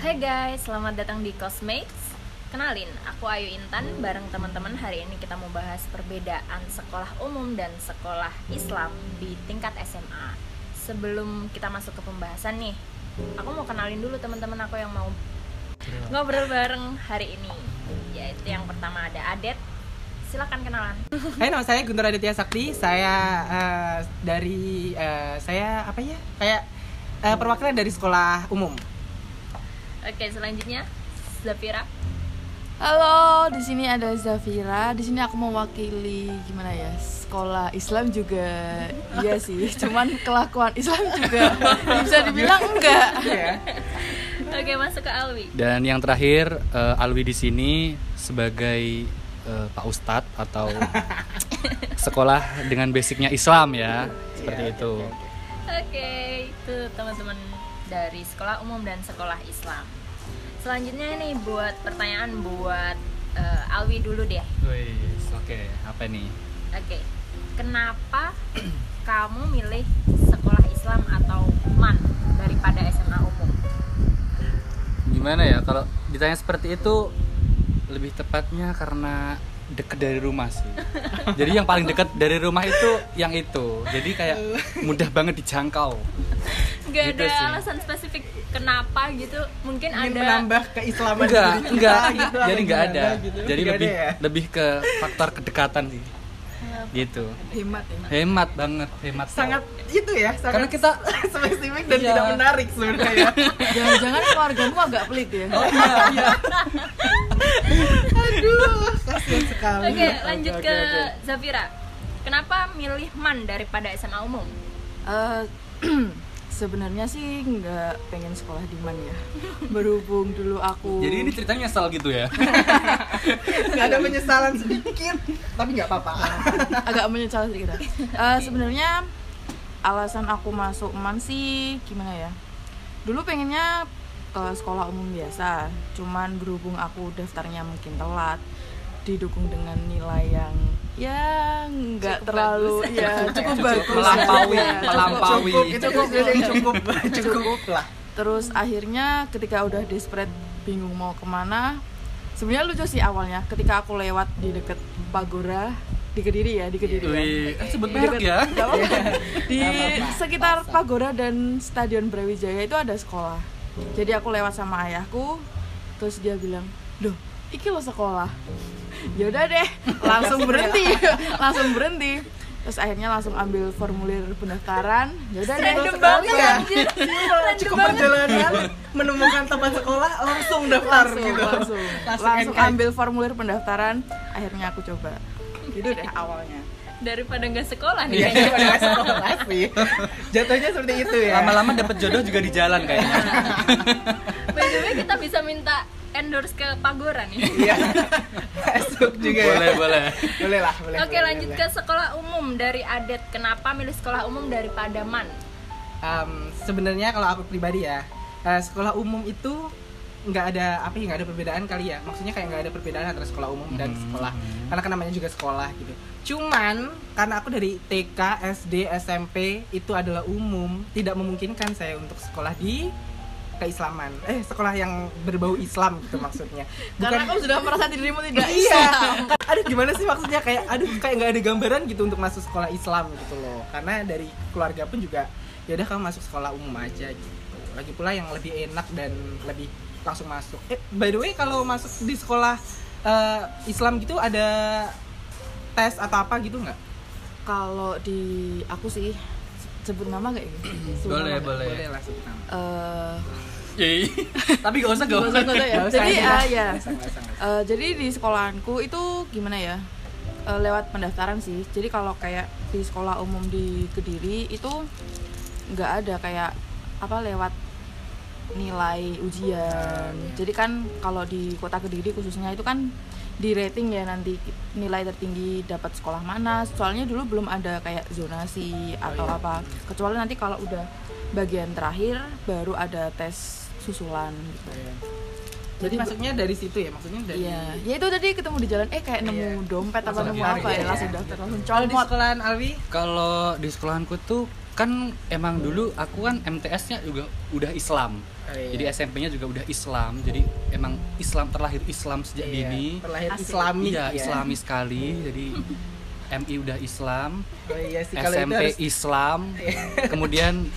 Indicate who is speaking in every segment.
Speaker 1: Hai guys, selamat datang di Cosmates. Kenalin, aku Ayu Intan. Bareng teman-teman hari ini kita mau bahas perbedaan sekolah umum dan sekolah Islam di tingkat SMA. Sebelum kita masuk ke pembahasan nih, aku mau kenalin dulu teman-teman aku yang mau ngobrol bareng hari ini. Yaitu yang pertama ada Adet. Silakan kenalan.
Speaker 2: Hai, Eh, nama saya Guntur Aditya Sakti. Saya eh, dari eh, saya apa ya? Kayak eh, perwakilan dari sekolah umum.
Speaker 1: Oke, selanjutnya Zafira.
Speaker 3: Halo, di sini ada Zafira. Di sini aku mewakili gimana ya? Sekolah Islam juga iya sih, cuman kelakuan Islam juga Ya, bisa dibilang enggak.
Speaker 2: Gitu ya.
Speaker 1: Oke, masuk ke Alwi.
Speaker 4: Dan yang terakhir eh, Alwi di sini sebagai eh, Pak Ustadz atau sekolah dengan basicnya Islam ya seperti
Speaker 2: Iya,
Speaker 4: itu.
Speaker 2: oke, oke,
Speaker 1: Oke, itu teman-teman dari sekolah umum dan sekolah Islam. Selanjutnya nih buat pertanyaan buat eh, Alwi dulu deh.
Speaker 4: Wis, Oke apa nih?
Speaker 1: Oke, kenapa kamu milih sekolah Islam atau MAN daripada SMA umum?
Speaker 4: Gimana ya kalau ditanya seperti itu lebih tepatnya karena deket dari rumah sih. Jadi yang paling dekat dari rumah itu yang itu. Jadi kayak mudah banget dijangkau.
Speaker 1: Gak
Speaker 4: Gitu
Speaker 1: ada
Speaker 4: sih.
Speaker 1: alasan spesifik kenapa gitu. Mungkin
Speaker 2: Ingin
Speaker 1: ada
Speaker 2: menambah keislaman
Speaker 4: Enggak,
Speaker 2: diri kita
Speaker 4: enggak.
Speaker 2: gitu, apa
Speaker 4: Jadi enggak
Speaker 2: gimana
Speaker 4: ada.
Speaker 2: gitu.
Speaker 4: Jadi
Speaker 2: Enggak
Speaker 4: lebih
Speaker 2: ada ya?
Speaker 4: lebih ke faktor kedekatan sih. Gitu.
Speaker 3: Hemat, hemat.
Speaker 4: Hemat banget, hemat. tau.
Speaker 2: sangat itu ya, sangat
Speaker 4: karena kita
Speaker 2: spesifik dan
Speaker 4: Iya.
Speaker 2: tidak menarik sebenarnya ya.
Speaker 3: Jangan-jangan keluargamu agak pelit ya?
Speaker 4: Oh iya, iya.
Speaker 2: Aduh, kasihan sekali.
Speaker 1: Oke, lanjut ke Zafira. Kenapa milih MAN daripada SMA umum?
Speaker 3: Eh, sebenarnya sih nggak pengen sekolah di mana ya. Berhubung dulu aku.
Speaker 4: Jadi ini ceritanya nyesel gitu ya.
Speaker 2: Enggak ada penyesalan sedikit, tapi nggak apa-apa.
Speaker 3: agak menyesal sedikit. lah. Eh, Sebenarnya alasan aku masuk man sih gimana ya? Dulu pengennya ke sekolah umum biasa, cuman berhubung aku daftarnya mungkin telat, didukung dengan nilai yang ya nggak terlalu ya cukup bagus
Speaker 4: melampaui,
Speaker 3: Ya, cukup.
Speaker 4: melampaui.
Speaker 2: Cukup, itu cukup, cukup, cukup lah.
Speaker 3: terus akhirnya ketika udah desperate bingung mau kemana sebenarnya lucu sih awalnya ketika aku lewat di deket Pagora di Kediri ya di Kediri
Speaker 2: Iya.
Speaker 3: ya.
Speaker 4: Wih, eh, sebut
Speaker 3: Di
Speaker 4: merek
Speaker 3: deket-
Speaker 4: ya.
Speaker 3: Gak apa-apa. di sekitar Pagoda dan Stadion Brawijaya itu ada sekolah. Jadi aku lewat sama ayahku, terus dia bilang, "Duh, iki lo sekolah." Ya udah deh, langsung berhenti. langsung berhenti. Terus akhirnya langsung ambil formulir pendaftaran. Ya udah deh.
Speaker 1: Random
Speaker 3: langsung
Speaker 1: banget
Speaker 3: sekolah.
Speaker 1: anjir. Random
Speaker 2: cukup
Speaker 1: banget.
Speaker 2: perjalanan menemukan tempat sekolah langsung daftar
Speaker 3: Langsung,
Speaker 2: gitu
Speaker 3: langsung.
Speaker 2: Langsung
Speaker 3: Langsung
Speaker 2: NK.
Speaker 3: ambil formulir pendaftaran, akhirnya aku coba. Gitu deh awalnya.
Speaker 1: Daripada nggak sekolah nih
Speaker 2: Iya,
Speaker 1: kayaknya.
Speaker 2: daripada nggak sekolah sih. Jatuhnya seperti itu ya.
Speaker 4: Lama-lama dapet jodoh juga di jalan kayaknya.
Speaker 1: By the way, kita bisa minta endorse ke ya? Pagora nih.
Speaker 2: Iya. Masuk juga. ya.
Speaker 4: boleh, boleh.
Speaker 2: Boleh lah, boleh.
Speaker 1: Oke,
Speaker 2: boleh,
Speaker 1: lanjut
Speaker 2: boleh.
Speaker 1: ke sekolah umum dari Adet. Kenapa milih sekolah umum daripada MAN?
Speaker 2: Em, sebenarnya kalau aku pribadi ya, eh, sekolah umum itu nggak ada apa ya nggak ada perbedaan kali ya maksudnya kayak nggak ada perbedaan antara sekolah umum dan
Speaker 4: Hmm.
Speaker 2: sekolah karena kan namanya juga sekolah gitu cuman karena aku dari TK SD SMP itu adalah umum tidak memungkinkan saya untuk sekolah di keislaman eh sekolah yang berbau Islam gitu maksudnya
Speaker 3: Karena aku sudah merasa dirimu tidak
Speaker 2: iya Kan, aduh gimana sih maksudnya kayak aduh kayak nggak ada gambaran gitu untuk masuk sekolah Islam gitu loh karena dari keluarga pun juga ya udah kamu masuk sekolah umum aja gitu lagi pula yang lebih enak dan lebih langsung masuk eh by the way kalau masuk di sekolah eh, Islam gitu ada tes atau apa gitu nggak
Speaker 3: kalau di aku sih sebut nama gak ini? Sebut nama
Speaker 4: Boleh,
Speaker 3: nggak?
Speaker 4: boleh.
Speaker 2: boleh lah sebut nama
Speaker 3: Eh,
Speaker 4: Yeay. Tapi gak usah, gak
Speaker 3: nggak usah,
Speaker 4: usah.
Speaker 3: nggak usah ya.
Speaker 2: Nggak usah, eh,
Speaker 3: Jadi
Speaker 2: nggak usah,
Speaker 3: ah, ya.
Speaker 2: nggak usah, nggak usah, nggak usah.
Speaker 3: Eh, jadi di sekolahanku itu gimana ya? Eh, lewat pendaftaran sih. Jadi kalau kayak di sekolah umum di Kediri itu nggak ada kayak apa lewat nilai ujian. Jadi kan kalau di kota Kediri khususnya itu kan di rating ya nanti nilai tertinggi dapat sekolah mana. Soalnya dulu belum ada kayak zonasi atau
Speaker 2: iya.
Speaker 3: apa. Kecuali nanti kalau udah bagian terakhir baru ada tes susulan gitu.
Speaker 2: Jadi masuknya dari situ ya, maksudnya dari
Speaker 3: Iya, ya itu tadi ketemu di jalan, eh kayak nemu
Speaker 2: Iya.
Speaker 3: dompet apa
Speaker 2: Langsung
Speaker 3: nemu
Speaker 2: ditarik
Speaker 3: apa ya,
Speaker 2: ya.
Speaker 3: langsung daftar, langsung
Speaker 2: Kalau di
Speaker 3: comot.
Speaker 2: sekolahan Alwi,
Speaker 4: Kalau di sekolahanku tuh kan emang dulu aku kan MTS-nya juga udah Islam.
Speaker 2: Oh, iya.
Speaker 4: Jadi SMP-nya juga udah Islam. Jadi emang Islam terlahir Islam sejak
Speaker 2: iya,
Speaker 4: dini.
Speaker 2: terlahir
Speaker 3: Asik.
Speaker 2: Islami
Speaker 4: Iya,
Speaker 2: ya.
Speaker 4: Islami sekali. Jadi MI udah Islam,
Speaker 2: Oh iya sih kalau itu
Speaker 4: SMP
Speaker 2: harus
Speaker 4: Islam, kemudian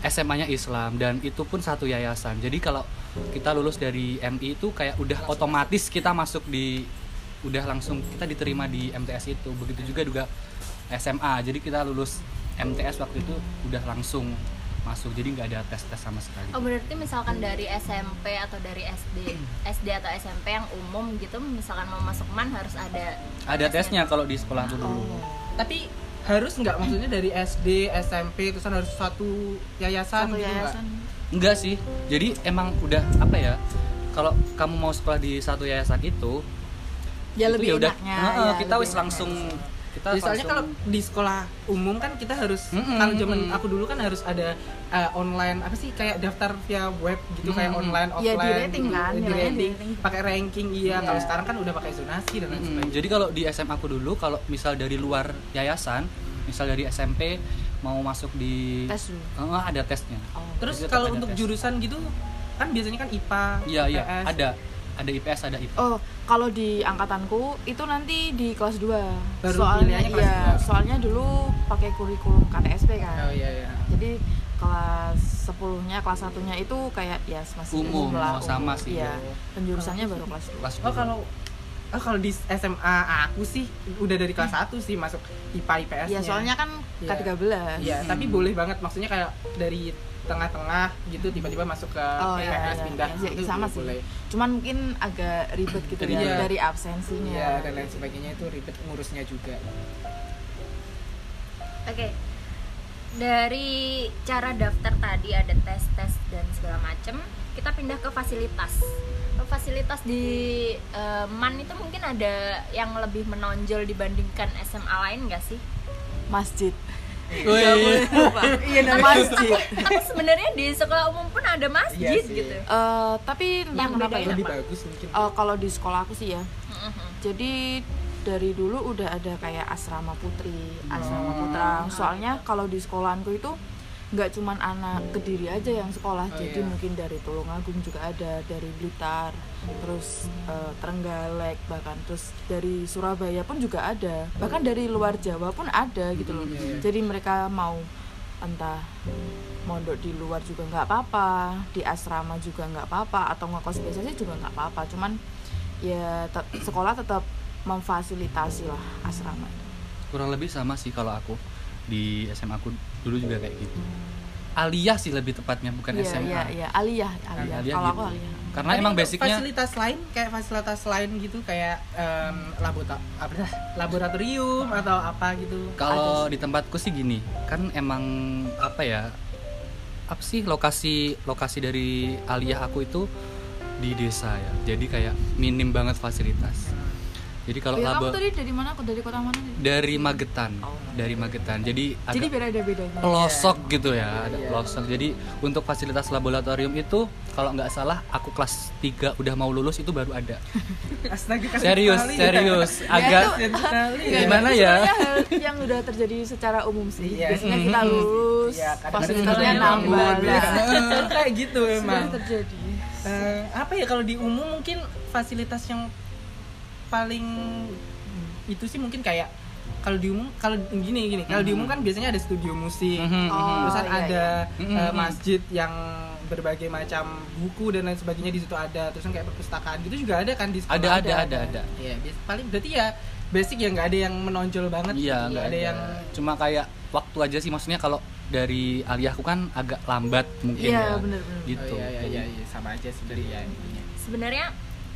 Speaker 4: SMA-nya Islam dan itu pun satu yayasan. Jadi kalau kita lulus dari MI itu kayak udah otomatis kita masuk di udah langsung kita diterima di MTS itu. Begitu juga juga SMA. Jadi kita lulus MTS waktu itu udah langsung masuk. Jadi nggak ada tes-tes sama sekali.
Speaker 1: Oh berarti misalkan dari SMP atau dari SD, SD atau SMP yang umum gitu, misalkan mau masuk man harus ada.
Speaker 4: Ada tesnya kalau di sekolah aku dulu.
Speaker 2: tapi harus nggak maksudnya dari SD SMP terus kan harus satu yayasan
Speaker 3: Satu
Speaker 2: gitu nggak?
Speaker 3: yayasan.
Speaker 4: Enggak sih. Jadi emang udah apa ya? Kalau kamu mau sekolah di satu yayasan itu,
Speaker 3: Ya
Speaker 4: itu
Speaker 3: lebih
Speaker 4: yaudah,
Speaker 3: enaknya.
Speaker 4: heeh,
Speaker 3: ya,
Speaker 4: kita
Speaker 3: lebih
Speaker 4: wis
Speaker 3: enaknya.
Speaker 4: langsung kita
Speaker 2: Jadi soalnya kalau
Speaker 4: langsung-
Speaker 2: di sekolah umum kan kita harus
Speaker 4: Mm-mm,
Speaker 2: kalau zaman
Speaker 4: mm-mm.
Speaker 2: aku dulu kan harus ada eh, online apa sih kayak daftar via web gitu kayak
Speaker 4: Mm-mm.
Speaker 2: online
Speaker 3: Iya, di
Speaker 2: offline
Speaker 3: rating
Speaker 2: gitu.
Speaker 3: kan,
Speaker 2: Di
Speaker 3: nilainya di
Speaker 2: rating.
Speaker 3: rating.
Speaker 2: pakai ranking iya
Speaker 3: Iya.
Speaker 2: kalau sekarang kan udah pakai zonasi dan lain
Speaker 4: Mm-mm.
Speaker 2: sebagainya
Speaker 4: jadi kalau di SMA aku dulu kalau misal dari luar yayasan, misal dari SMP mau masuk di
Speaker 3: tes dulu.
Speaker 4: Heeh, ada tesnya.
Speaker 3: Oh.
Speaker 2: terus
Speaker 4: Jadi tetap
Speaker 2: kalau
Speaker 4: ada
Speaker 2: untuk
Speaker 4: tes.
Speaker 2: jurusan gitu kan biasanya kan IPA
Speaker 4: Iya, iya,
Speaker 2: IPS.
Speaker 4: ada. Ada IPS, ada IPA.
Speaker 3: Oh, kalau di angkatanku itu nanti di kelas 2.
Speaker 2: Baru
Speaker 3: soalnya
Speaker 2: pilihannya kelas
Speaker 3: iya,
Speaker 2: dua.
Speaker 3: soalnya dulu pakai kurikulum KTSP kan.
Speaker 2: oh iya iya
Speaker 3: Jadi kelas 10-nya, kelas 1-nya itu kayak ya masih
Speaker 4: Umum,
Speaker 3: lah,
Speaker 4: sama sih.
Speaker 3: Iya, penjurusannya baru kelas 2.
Speaker 4: Kelas
Speaker 2: oh
Speaker 4: dulu.
Speaker 2: kalau oh, kalau di SMA aku sih udah dari kelas 1 sih masuk IPA IPS
Speaker 3: Iya, soalnya kan
Speaker 2: Iya.
Speaker 3: K13.
Speaker 2: Iya, tapi boleh banget maksudnya kayak dari tengah-tengah gitu tiba-tiba masuk ke
Speaker 3: Oh, iya,
Speaker 2: IPS
Speaker 3: iya.
Speaker 2: pindah
Speaker 3: Iya,
Speaker 2: itu juga
Speaker 3: sama sih.
Speaker 2: boleh.
Speaker 3: Cuman mungkin agak ribet gitu ya
Speaker 2: Iya.
Speaker 3: dari absensinya.
Speaker 2: Iya, dan lain sebagainya itu ribet ngurusnya juga.
Speaker 1: Oke. Dari cara daftar tadi ada tes tes dan segala macem, kita pindah ke fasilitas. Fasilitas di eh, man itu mungkin ada yang lebih menonjol dibandingkan SMA lain nggak sih?
Speaker 3: Masjid.
Speaker 4: Wih.
Speaker 3: Iya, masjid.
Speaker 1: Tapi sebenarnya di sekolah umum pun ada masjid
Speaker 2: Iya sih.
Speaker 1: gitu.
Speaker 3: Eh, tapi
Speaker 2: Iya,
Speaker 3: entah
Speaker 1: Yang
Speaker 3: kenapa
Speaker 1: bedain
Speaker 3: ya.
Speaker 2: Lebih
Speaker 1: apa?
Speaker 2: bagus mungkin.
Speaker 3: Eh, kalau di sekolah aku sih ya,
Speaker 2: Mm-hmm.
Speaker 1: Mhm.
Speaker 3: jadi dari dulu udah ada kayak asrama putri,
Speaker 2: Oh.
Speaker 3: asrama putra.
Speaker 2: Ah.
Speaker 3: Soalnya kalau di sekolahanku itu nggak cuman anak kediri aja yang sekolah,
Speaker 2: Oh,
Speaker 3: jadi
Speaker 2: iya.
Speaker 3: mungkin dari Tulungagung juga ada, dari Blitar, terus eh, Trenggalek bahkan, terus dari Surabaya pun juga ada, bahkan dari luar Jawa pun ada gitu loh.
Speaker 2: Iya, iya.
Speaker 3: Jadi mereka mau entah mondok di luar juga nggak apa-apa, di asrama juga nggak apa-apa, atau ngekos biasa sih juga nggak apa-apa. Cuman ya te- sekolah tetap memfasilitasi lah asrama.
Speaker 4: Kurang lebih sama sih kalau aku di SMA aku dulu juga kayak gitu. Alias sih lebih tepatnya bukan
Speaker 3: Iya
Speaker 4: SMA.
Speaker 3: iya iya aliyah aliyah. Kalau
Speaker 4: Aliyah gitu.
Speaker 3: aku aliyah.
Speaker 4: Karena
Speaker 2: Tapi
Speaker 4: emang
Speaker 2: untuk
Speaker 4: basicnya
Speaker 2: fasilitas lain kayak fasilitas lain gitu kayak em, labota- apa dah, laboratorium atau apa gitu.
Speaker 4: Kalau
Speaker 3: Ada
Speaker 4: di tempatku sih gini, kan emang apa ya? Apa sih lokasi lokasi dari aliyah aku itu di desa ya. Jadi kayak minim banget fasilitas. Jadi kalau
Speaker 3: Ya, kamu
Speaker 4: laba
Speaker 3: tadi dari mana? Aku dari kota mana?
Speaker 4: dari Magetan,
Speaker 3: Oh.
Speaker 4: dari Magetan. Jadi
Speaker 3: Jadi
Speaker 4: agak
Speaker 3: beda ya? ada bedanya.
Speaker 4: pelosok gitu ya, ada
Speaker 2: Iya.
Speaker 4: pelosok. Jadi untuk fasilitas laboratorium itu kalau nggak salah aku kelas 3 udah mau lulus itu baru ada.
Speaker 2: Astaga, kasih
Speaker 4: Serius,
Speaker 2: sekali.
Speaker 3: Ya,
Speaker 4: serius. Agak
Speaker 2: Kasih sekali.
Speaker 4: Iya. Gimana ya?
Speaker 3: Sebenarnya hal yang udah terjadi secara umum sih.
Speaker 2: Iya.
Speaker 3: Biasanya kita lulus,
Speaker 2: Iya, kadang-kadang
Speaker 3: fasilitasnya
Speaker 2: kadang-kadang
Speaker 3: nambah
Speaker 2: nambah.
Speaker 3: lah.
Speaker 2: Heeh, Kayak gitu
Speaker 3: Sudah
Speaker 2: emang.
Speaker 3: terjadi.
Speaker 2: Eh, apa ya kalau di umum mungkin fasilitas yang paling itu sih mungkin kayak kalau di umum kalau gini gini kalau di umum kan biasanya ada studio musik
Speaker 4: Mhm, mhm.
Speaker 3: Oh,
Speaker 2: terus kan
Speaker 3: iya,
Speaker 2: ada
Speaker 4: iya.
Speaker 2: eh,
Speaker 4: Mhm.
Speaker 2: masjid yang berbagai macam buku dan lain sebagainya di situ ada terus yang kayak perpustakaan gitu juga ada kan di sekolah
Speaker 4: Ada, ada, ada, ada.
Speaker 2: Iya, bias- paling berarti ya basic ya nggak ada yang menonjol banget
Speaker 4: Iya,
Speaker 2: gitu.
Speaker 4: nggak
Speaker 2: ada,
Speaker 4: ada
Speaker 2: yang
Speaker 4: cuma kayak waktu aja sih maksudnya kalau dari aliyahku kan agak lambat mungkin
Speaker 3: Iya,
Speaker 4: ya.
Speaker 3: bener-bener.
Speaker 4: Gitu.
Speaker 2: Oh, iya, iya, iya, iya, sama aja sih dari ya intinya.
Speaker 1: sebenarnya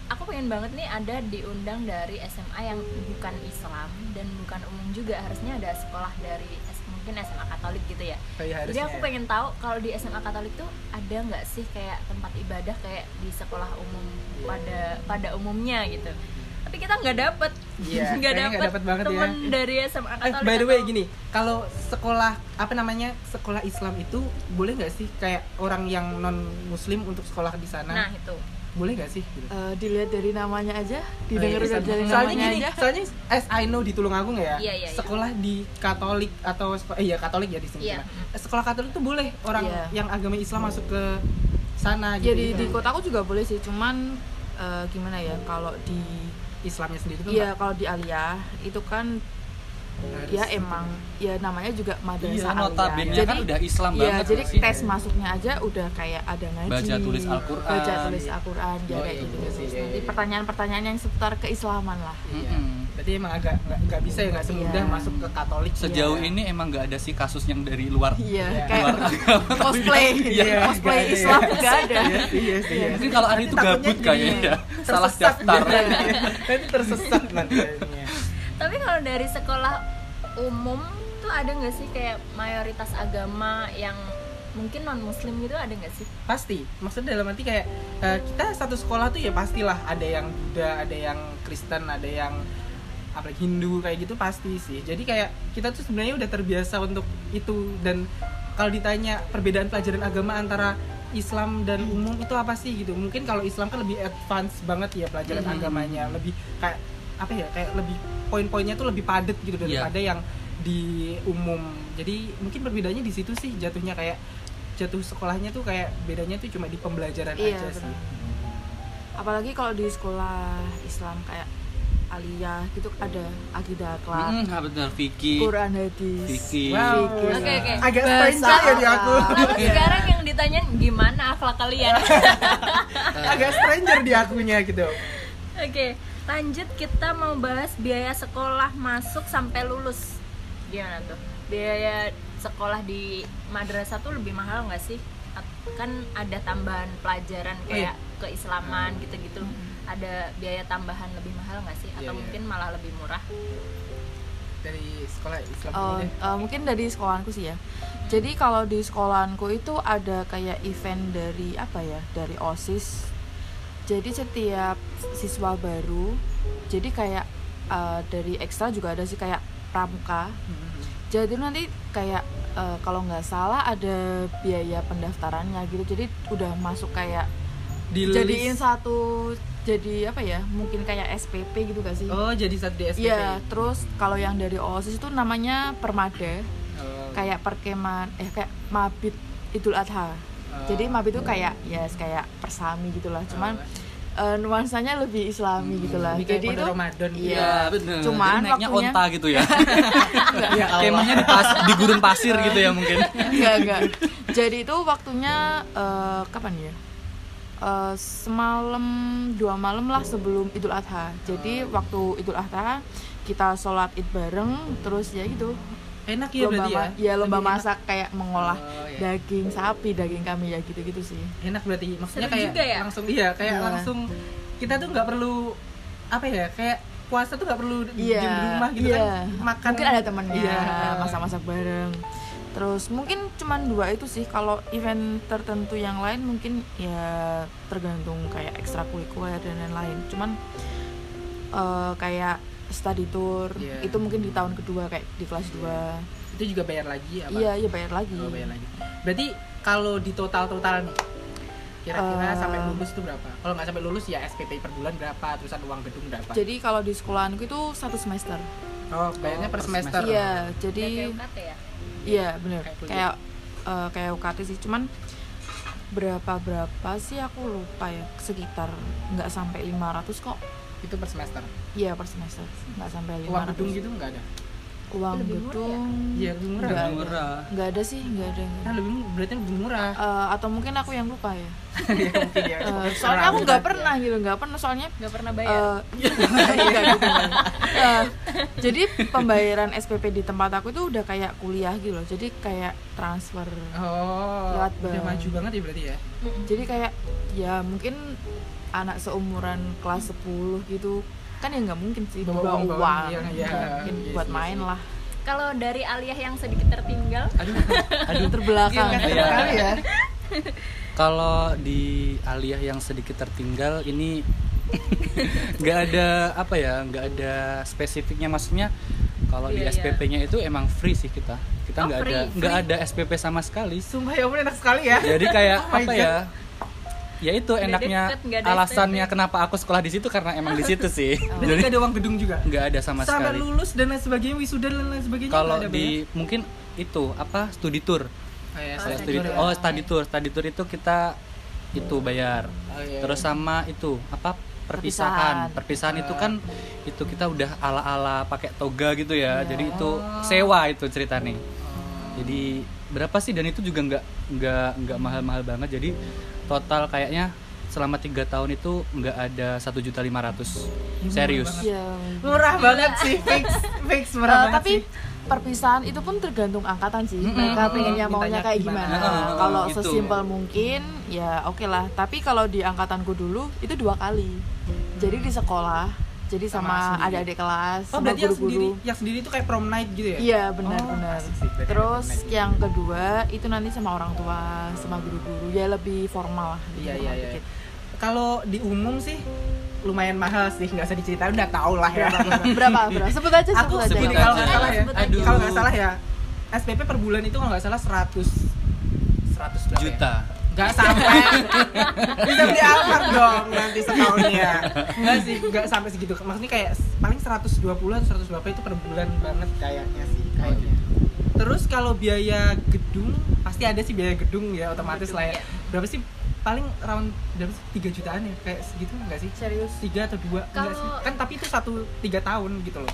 Speaker 1: aku pengen banget nih ada diundang dari SMA yang bukan Islam dan bukan umum juga harusnya ada sekolah dari S- mungkin SMA Katolik gitu ya
Speaker 2: Kayak
Speaker 1: jadi
Speaker 2: harusnya
Speaker 1: aku
Speaker 2: ya.
Speaker 1: pengen tahu kalau di SMA Katolik tuh ada nggak sih kayak tempat ibadah kayak di sekolah umum pada pada umumnya gitu tapi kita nggak dapet
Speaker 2: Iya,
Speaker 1: nggak
Speaker 2: kayaknya nggak
Speaker 1: dapet
Speaker 2: dapet banget ya.
Speaker 1: temen dari SMA
Speaker 2: Eh,
Speaker 1: Katolik
Speaker 2: by the way
Speaker 1: atau-
Speaker 2: gini, kalau sekolah apa namanya sekolah Islam itu boleh nggak sih kayak orang yang non Muslim untuk sekolah di sana?
Speaker 1: nah itu
Speaker 2: boleh gak sih gitu?
Speaker 3: Eh, dilihat dari namanya aja,
Speaker 2: Oh, iya,
Speaker 3: didengar
Speaker 2: bisa.
Speaker 3: dari
Speaker 2: soalnya
Speaker 3: namanya
Speaker 2: gini,
Speaker 3: aja.
Speaker 2: soalnya as I know di Tulungagung ya,
Speaker 1: Iya, iya, iya.
Speaker 2: sekolah di Katolik atau seko- eh, iya Katolik ya di sini.
Speaker 1: Iya.
Speaker 2: Nah, Sekolah Katolik tuh boleh orang
Speaker 3: Iya.
Speaker 2: yang agama Islam masuk ke sana gitu.
Speaker 3: Ya di, di kotaku juga boleh sih, cuman eh, gimana ya kalau di
Speaker 2: Islamnya sendiri tuh
Speaker 3: Iya, kalau di Aliyah itu kan
Speaker 2: harus-
Speaker 3: ya emang ya namanya juga
Speaker 4: Iya,
Speaker 3: madrasah
Speaker 4: notabene
Speaker 3: Aliyah.
Speaker 4: kan udah Islam
Speaker 3: Iya,
Speaker 4: banget
Speaker 3: jadi
Speaker 4: nggak sih?
Speaker 3: tes masuknya aja udah kayak ada ngaji.
Speaker 4: Baca tulis Al-Quran.
Speaker 3: Baca tulis Al-Quran, ya
Speaker 4: Oh,
Speaker 3: kayak
Speaker 4: iya,
Speaker 3: gitu.
Speaker 2: iya sih, iya,
Speaker 3: Nanti
Speaker 2: iya.
Speaker 3: pertanyaan-pertanyaan yang seputar keislaman lah.
Speaker 2: Iya.
Speaker 4: Mm-mm.
Speaker 2: Berarti emang agak nggak nggak bisa ya nggak semudah
Speaker 3: Iya.
Speaker 2: masuk ke Katolik.
Speaker 4: Sejauh
Speaker 2: Iya.
Speaker 4: ini emang nggak ada sih kasus yang dari luar
Speaker 3: Iya,
Speaker 2: Iya.
Speaker 3: kayak cosplay,
Speaker 2: Iya, nggak
Speaker 3: cosplay
Speaker 2: ada ya.
Speaker 3: Islam enggak ada.
Speaker 2: Iya, iya, iya.
Speaker 4: Mungkin kalau Ari itu
Speaker 2: Takutnya
Speaker 4: gabut kayaknya
Speaker 2: jadi
Speaker 4: ya. Salah
Speaker 2: tersesat
Speaker 4: daftar.
Speaker 2: gitu. Nanti tersesat nanti. kayaknya.
Speaker 1: Tapi kalau dari sekolah umum tuh ada nggak sih kayak mayoritas agama yang mungkin non muslim gitu ada nggak sih?
Speaker 2: pasti maksudnya dalam arti kayak eh, kita satu sekolah tuh ya pastilah ada yang Buddha ada yang Kristen ada yang apa Hindu kayak gitu pasti sih jadi kayak kita tuh sebenarnya udah terbiasa untuk itu dan kalau ditanya perbedaan pelajaran agama antara Islam dan umum itu apa sih gitu mungkin kalau Islam kan lebih advance banget ya pelajaran
Speaker 4: Hmm.
Speaker 2: agamanya lebih kayak apa ya kayak lebih poin-poinnya tuh lebih padat gitu
Speaker 4: Iya.
Speaker 2: daripada yang di umum jadi mungkin perbedaannya di situ sih jatuhnya kayak jatuh sekolahnya tuh kayak bedanya tuh cuma di pembelajaran
Speaker 3: Iya,
Speaker 2: aja
Speaker 3: benar.
Speaker 2: sih
Speaker 3: Apalagi kalau di sekolah Islam kayak Aliyah gitu ada akidah akhlak,
Speaker 4: Hmm, benar Vicky.
Speaker 3: Quran hadis.
Speaker 4: Vicky.
Speaker 2: Wow.
Speaker 3: Fikir.
Speaker 1: Oke, oke.
Speaker 2: agak
Speaker 3: Bahasa
Speaker 2: Spencer ya di aku
Speaker 3: Arab.
Speaker 1: Lalu Nah, sekarang yang ditanyain gimana akhlak kalian?
Speaker 2: agak stranger di akunya gitu
Speaker 1: Oke, lanjut kita mau bahas biaya sekolah masuk sampai lulus. Gimana tuh? Biaya sekolah di madrasah tuh lebih mahal nggak sih? At- Kan ada tambahan pelajaran
Speaker 2: Oh,
Speaker 1: kayak
Speaker 2: iya. Hmm.
Speaker 1: keislaman gitu-gitu. Ada biaya tambahan lebih mahal nggak sih?
Speaker 2: Iya,
Speaker 1: Atau
Speaker 2: iya.
Speaker 1: mungkin malah lebih murah?
Speaker 2: dari sekolah Islam Hmm.
Speaker 3: Oh,
Speaker 2: ini deh.
Speaker 3: eh, mungkin dari sekolahanku sih ya. Jadi kalau di sekolahanku itu ada kayak event dari apa ya? Dari OSIS. Jadi setiap siswa baru, jadi kayak eh, dari ekstra juga ada sih kayak pramuka. Jadi nanti kayak eh, kalau nggak salah ada biaya pendaftarannya gitu. Jadi udah masuk kayak
Speaker 2: di
Speaker 3: jadiin
Speaker 2: list.
Speaker 3: satu jadi apa ya? Mungkin kayak SPP gitu gak sih?
Speaker 2: oh jadi satu di SPP
Speaker 3: Iya, terus kalau yang dari OSIS itu namanya Permada
Speaker 2: Oh.
Speaker 3: kayak perkemahan eh kayak mabit Idul Adha. Jadi mabit itu kayak ya kayak persami gitulah, cuman eh, nuansanya lebih Islami gitulah.
Speaker 2: Ini kayak
Speaker 3: Jadi
Speaker 2: pondok
Speaker 3: itu
Speaker 2: Ramadan gitu.
Speaker 3: Iya.
Speaker 4: Iya, benar.
Speaker 3: Cuman
Speaker 4: Jadi naiknya
Speaker 3: waktunya-
Speaker 4: onta gitu ya.
Speaker 2: ya Allah.
Speaker 4: Kemahnya di, pas- di gurun pasir gitu ya mungkin.
Speaker 3: enggak enggak. Jadi itu waktunya eh, kapan ya? Eh, semalam dua malam lah sebelum Idul Adha. Jadi waktu Idul Adha kita sholat id bareng, terus ya gitu
Speaker 2: enak ya
Speaker 3: lomba
Speaker 2: berarti ya
Speaker 3: ma- ya, lomba
Speaker 2: Lebih enak.
Speaker 3: masak kayak mengolah
Speaker 2: Oh, iya.
Speaker 3: daging sapi, daging kami ya gitu-gitu sih.
Speaker 2: enak berarti maksudnya
Speaker 1: Seru
Speaker 2: kayak
Speaker 1: juga ya?
Speaker 2: langsung iya kayak
Speaker 3: Iya.
Speaker 2: langsung kita tuh nggak perlu apa ya kayak puasa tuh nggak perlu
Speaker 3: Iya.
Speaker 2: diem di rumah gitu
Speaker 3: iya.
Speaker 2: kan makan
Speaker 3: Mungkin ada temennya
Speaker 2: iya
Speaker 3: masak-masak bareng. Terus mungkin cuman dua itu sih kalau event tertentu yang lain mungkin ya tergantung kayak ekstrakurikuler dan lain-lain. Cuman eh, kayak study tour
Speaker 2: Iya.
Speaker 3: itu mungkin di tahun kedua kayak di kelas 2.
Speaker 2: itu juga bayar lagi apa
Speaker 3: Iya, iya bayar lagi.
Speaker 2: Oh, bayar lagi. Berarti kalau di total total nih kira-kira
Speaker 3: Eh.
Speaker 2: sampai lulus tuh berapa? Kalau nggak sampai lulus ya SPP per bulan berapa? Terusan uang gedung berapa?
Speaker 3: Jadi kalau di sekolahanku itu satu semester.
Speaker 2: oh, bayarnya per
Speaker 4: per
Speaker 2: semester.
Speaker 3: Iya,
Speaker 1: Udah
Speaker 3: jadi
Speaker 1: kayak UKT ya?
Speaker 3: Iya bener
Speaker 2: Kayak kuliah.
Speaker 3: kayak eh, kayak UKT sih cuman berapa berapa sih aku lupa ya sekitar nggak sampai 500 kok
Speaker 2: Itu per semester.
Speaker 3: iya per semester nggak sampai 500
Speaker 2: Uang gedung gitu nggak ada?
Speaker 3: uang
Speaker 1: Lebih murah ya?
Speaker 3: gedung
Speaker 2: Iya, lebih murah.
Speaker 3: nggak
Speaker 4: Lebih
Speaker 3: ada.
Speaker 4: murah.
Speaker 3: nggak ada sih nggak ada yang- gitu.
Speaker 2: Nah, lebih mu- berarti lebih murah.
Speaker 3: Eh, atau mungkin aku yang lupa ya
Speaker 2: ya, mungkin ya.
Speaker 3: Eh, soalnya aku nggak pernah gitu nggak pernah soalnya
Speaker 1: Nggak pernah bayar?
Speaker 3: Eh,
Speaker 2: Iya.
Speaker 3: enggak gitu. Eh, jadi pembayaran SPP di tempat aku itu udah kayak kuliah gitu loh jadi kayak transfer
Speaker 2: Oh,
Speaker 3: Lewat
Speaker 2: udah
Speaker 3: bank.
Speaker 2: maju banget ya berarti ya.
Speaker 1: Mm-mm.
Speaker 3: jadi kayak ya mungkin anak seumuran kelas 10 gitu kan ya nggak mungkin sih
Speaker 2: Bawa
Speaker 3: bawa,
Speaker 2: uang,
Speaker 3: uang,
Speaker 2: bawa uang, iya,
Speaker 3: Nggak
Speaker 2: iya,
Speaker 3: mungkin
Speaker 2: iya
Speaker 3: buat
Speaker 2: sih,
Speaker 3: main
Speaker 2: sih.
Speaker 3: lah
Speaker 1: Kalau dari Aliyah yang sedikit tertinggal,
Speaker 4: Aduh, aduh.
Speaker 3: terbelakang
Speaker 2: Iya,
Speaker 4: Iya.
Speaker 2: sekali ya.
Speaker 4: Kalau di aliyah yang sedikit tertinggal ini nggak ada apa ya, nggak ada spesifiknya maksudnya. Kalau
Speaker 1: Iya, iya.
Speaker 4: di SPP-nya itu emang free sih kita. Kita
Speaker 1: Oh,
Speaker 4: nggak ada
Speaker 1: free,
Speaker 4: nggak
Speaker 1: free.
Speaker 4: ada SPP sama sekali. Iya.
Speaker 2: Sumpah ya ampun enak sekali ya.
Speaker 4: Jadi kayak
Speaker 2: Oh my
Speaker 4: apa
Speaker 2: God.
Speaker 4: ya? ya itu
Speaker 1: Nggak
Speaker 4: enaknya
Speaker 1: deket, nggak ada
Speaker 4: alasannya
Speaker 1: STP.
Speaker 4: kenapa aku sekolah di situ karena emang di situ sih
Speaker 1: Oh.
Speaker 2: Dan
Speaker 4: jadi
Speaker 2: nggak ada uang gedung juga.
Speaker 4: nggak ada sama
Speaker 2: Sampai
Speaker 4: sekali
Speaker 2: lulus dan lain sebagainya, wisuda dan lain sebagainya.
Speaker 4: kalau
Speaker 2: nggak ada
Speaker 4: di mungkin itu apa studi tour
Speaker 1: Oh,
Speaker 2: bayar. Kayak
Speaker 4: Kayak
Speaker 2: study
Speaker 4: studi
Speaker 2: tour
Speaker 4: tour.
Speaker 2: ya.
Speaker 4: oh study tour study tour itu kita itu bayar
Speaker 2: Oh, iya,
Speaker 4: terus
Speaker 2: iya.
Speaker 4: sama itu apa perpisahan perpisahan itu kan itu kita udah ala ala pakai toga gitu ya jadi itu sewa itu cerita nih jadi berapa sih dan itu juga nggak nggak nggak mahal mahal banget jadi total kayaknya selama tiga tahun itu nggak ada satu juta lima ratus serius
Speaker 3: Iya.
Speaker 2: murah banget sih, fix fix murah
Speaker 3: Eh,
Speaker 2: banget
Speaker 3: tapi
Speaker 2: sih.
Speaker 3: perpisahan itu pun tergantung angkatan sih. Mereka
Speaker 2: Mm-mm.
Speaker 3: pengennya maunya
Speaker 2: Mintanya
Speaker 3: kayak
Speaker 2: gimana.
Speaker 3: gimana.
Speaker 4: Nah,
Speaker 3: kalau
Speaker 4: gitu.
Speaker 3: sesimpel mungkin ya oke lah. Tapi kalau di angkatanku dulu itu dua kali. Jadi di sekolah, jadi
Speaker 2: Sama
Speaker 3: sama,
Speaker 2: sendiri.
Speaker 3: adik-adik kelas,
Speaker 2: Oh
Speaker 3: sama
Speaker 2: berarti yang sendiri,
Speaker 3: guru-guru.
Speaker 2: yang sendiri itu kayak prom night gitu ya?
Speaker 3: Iya benar-benar.
Speaker 2: asik sih, berarti
Speaker 3: Terus
Speaker 2: ada prom night.
Speaker 3: yang kedua itu nanti sama orang tua, sama guru-guru ya lebih formal lah. lebih
Speaker 2: Iya, iya,
Speaker 3: formal
Speaker 2: iya.
Speaker 3: dikit.
Speaker 2: kalau di umum sih lumayan mahal sih, nggak usah diceritain udah tau lah ya.
Speaker 3: Berapa berapa? Sebut aja
Speaker 2: Aku
Speaker 3: sebut aja.
Speaker 2: sebut
Speaker 4: Sebut
Speaker 2: kalau
Speaker 4: aja.
Speaker 2: nggak salah ya,
Speaker 1: Sebut
Speaker 4: aja.
Speaker 2: kalau nggak
Speaker 4: Aduh.
Speaker 2: salah ya, SPP per bulan itu kalau nggak salah 100 100 berapa ya?
Speaker 4: juta
Speaker 2: Gak sampai Bisa beli Alphard dong nanti setahunnya Enggak sih, gak sampai segitu Maksudnya kayak paling 120 atau 120 itu per bulan banget kayaknya sih kayaknya. Terus kalau biaya gedung Pasti ada sih biaya gedung ya otomatis
Speaker 1: Gedung,
Speaker 2: lah ya
Speaker 1: iya.
Speaker 2: Berapa sih paling round berapa sih 3 jutaan ya kayak segitu enggak sih
Speaker 3: Serius?
Speaker 2: tiga atau dua enggak
Speaker 1: Kalau-
Speaker 2: sih kan tapi itu satu tiga tahun gitu loh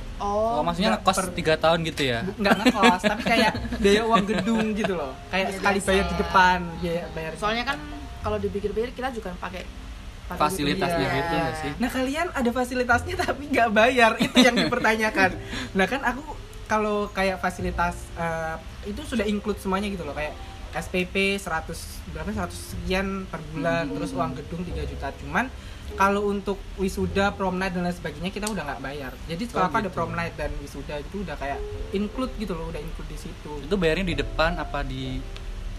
Speaker 3: Oh,
Speaker 4: oh maksudnya
Speaker 2: nggak
Speaker 4: ngekos
Speaker 2: per- Iya.
Speaker 4: tiga tahun gitu ya
Speaker 2: nggak ngekos tapi kayak biaya uang gedung gitu loh kayak
Speaker 3: Iya,
Speaker 2: sekali
Speaker 3: biasa.
Speaker 2: bayar di depan biaya bayar
Speaker 3: soalnya kan kalau dipikir-pikir kita juga pakai pakai
Speaker 4: fasilitasnya
Speaker 3: gitu.
Speaker 4: gitu nggak sih
Speaker 2: Nah kalian ada fasilitasnya tapi nggak bayar itu yang dipertanyakan. Nah kan aku kalau kayak fasilitas eh, itu sudah include semuanya gitu loh kayak SPP 100 berapa 100 sekian per bulan terus uang gedung 3 juta cuman kalau untuk wisuda prom night dan lain sebagainya kita udah nggak bayar jadi kalau
Speaker 4: Oh,
Speaker 2: aku ada
Speaker 4: gitu.
Speaker 2: prom night dan wisuda itu udah kayak include gitu loh udah include di situ
Speaker 4: itu bayarnya di depan apa di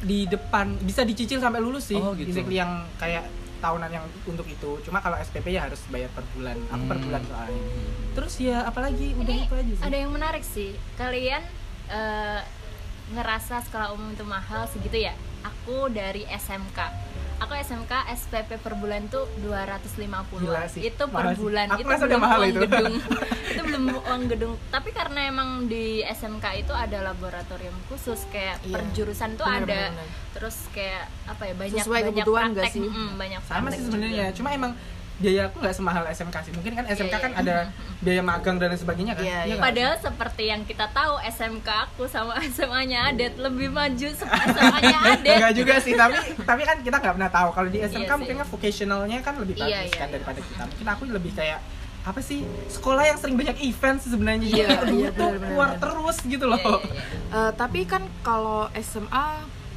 Speaker 2: di depan bisa dicicil sampai lulus sih
Speaker 4: Oh, gitu.
Speaker 2: basically yang kayak tahunan yang untuk itu cuma kalau SPP ya harus bayar per bulan aku per
Speaker 4: Hmm.
Speaker 2: bulan soalnya terus ya apalagi udah
Speaker 1: Ini
Speaker 2: itu aja sih
Speaker 1: ada yang menarik sih kalian eh, ngerasa sekolah umum itu mahal segitu ya aku dari SMK aku SMK SPP per bulan tuh 250
Speaker 2: Gila sih,
Speaker 1: itu per
Speaker 2: mahal sih.
Speaker 1: bulan
Speaker 2: Aku
Speaker 1: itu
Speaker 2: rasa udah
Speaker 1: belum
Speaker 2: mahal
Speaker 1: uang
Speaker 2: itu.
Speaker 1: gedung itu belum uang gedung tapi karena emang di SMK itu ada laboratorium khusus kayak
Speaker 3: Iya.
Speaker 1: per jurusan tuh
Speaker 2: Bener,
Speaker 1: ada
Speaker 2: bener, bener.
Speaker 1: terus kayak apa ya banyak
Speaker 3: Sesuai
Speaker 1: banyak
Speaker 3: kebutuhan nggak
Speaker 1: praktek
Speaker 3: sih?
Speaker 1: mm, banyak
Speaker 2: sama
Speaker 1: praktek
Speaker 2: sih
Speaker 1: juga.
Speaker 2: sebenarnya ya. cuma emang biaya aku nggak semahal SMK sih mungkin kan SMK
Speaker 1: Iya,
Speaker 2: kan
Speaker 1: iya.
Speaker 2: ada biaya magang dan lain sebagainya kan
Speaker 3: Iya, iya.
Speaker 2: nggak?
Speaker 1: Padahal seperti yang kita tahu SMK aku sama SMA-nya Adet lebih maju SMA-nya Adet.
Speaker 2: Enggak juga sih, tapi tapi kan kita nggak pernah tahu. Kalau di SMK
Speaker 1: Iya sih.
Speaker 2: mungkin kan vocationalnya kan lebih bagus
Speaker 1: Iya, iya,
Speaker 2: kan
Speaker 1: iya.
Speaker 2: daripada kita. Mungkin aku lebih kayak apa sih sekolah yang sering banyak event sih sebenarnya
Speaker 3: Iya,
Speaker 2: Jadi duit
Speaker 3: iya,
Speaker 2: tuh
Speaker 3: benar-benar.
Speaker 2: keluar terus gitu loh.
Speaker 1: Iya, iya, iya.
Speaker 3: Eh, tapi kan kalau SMA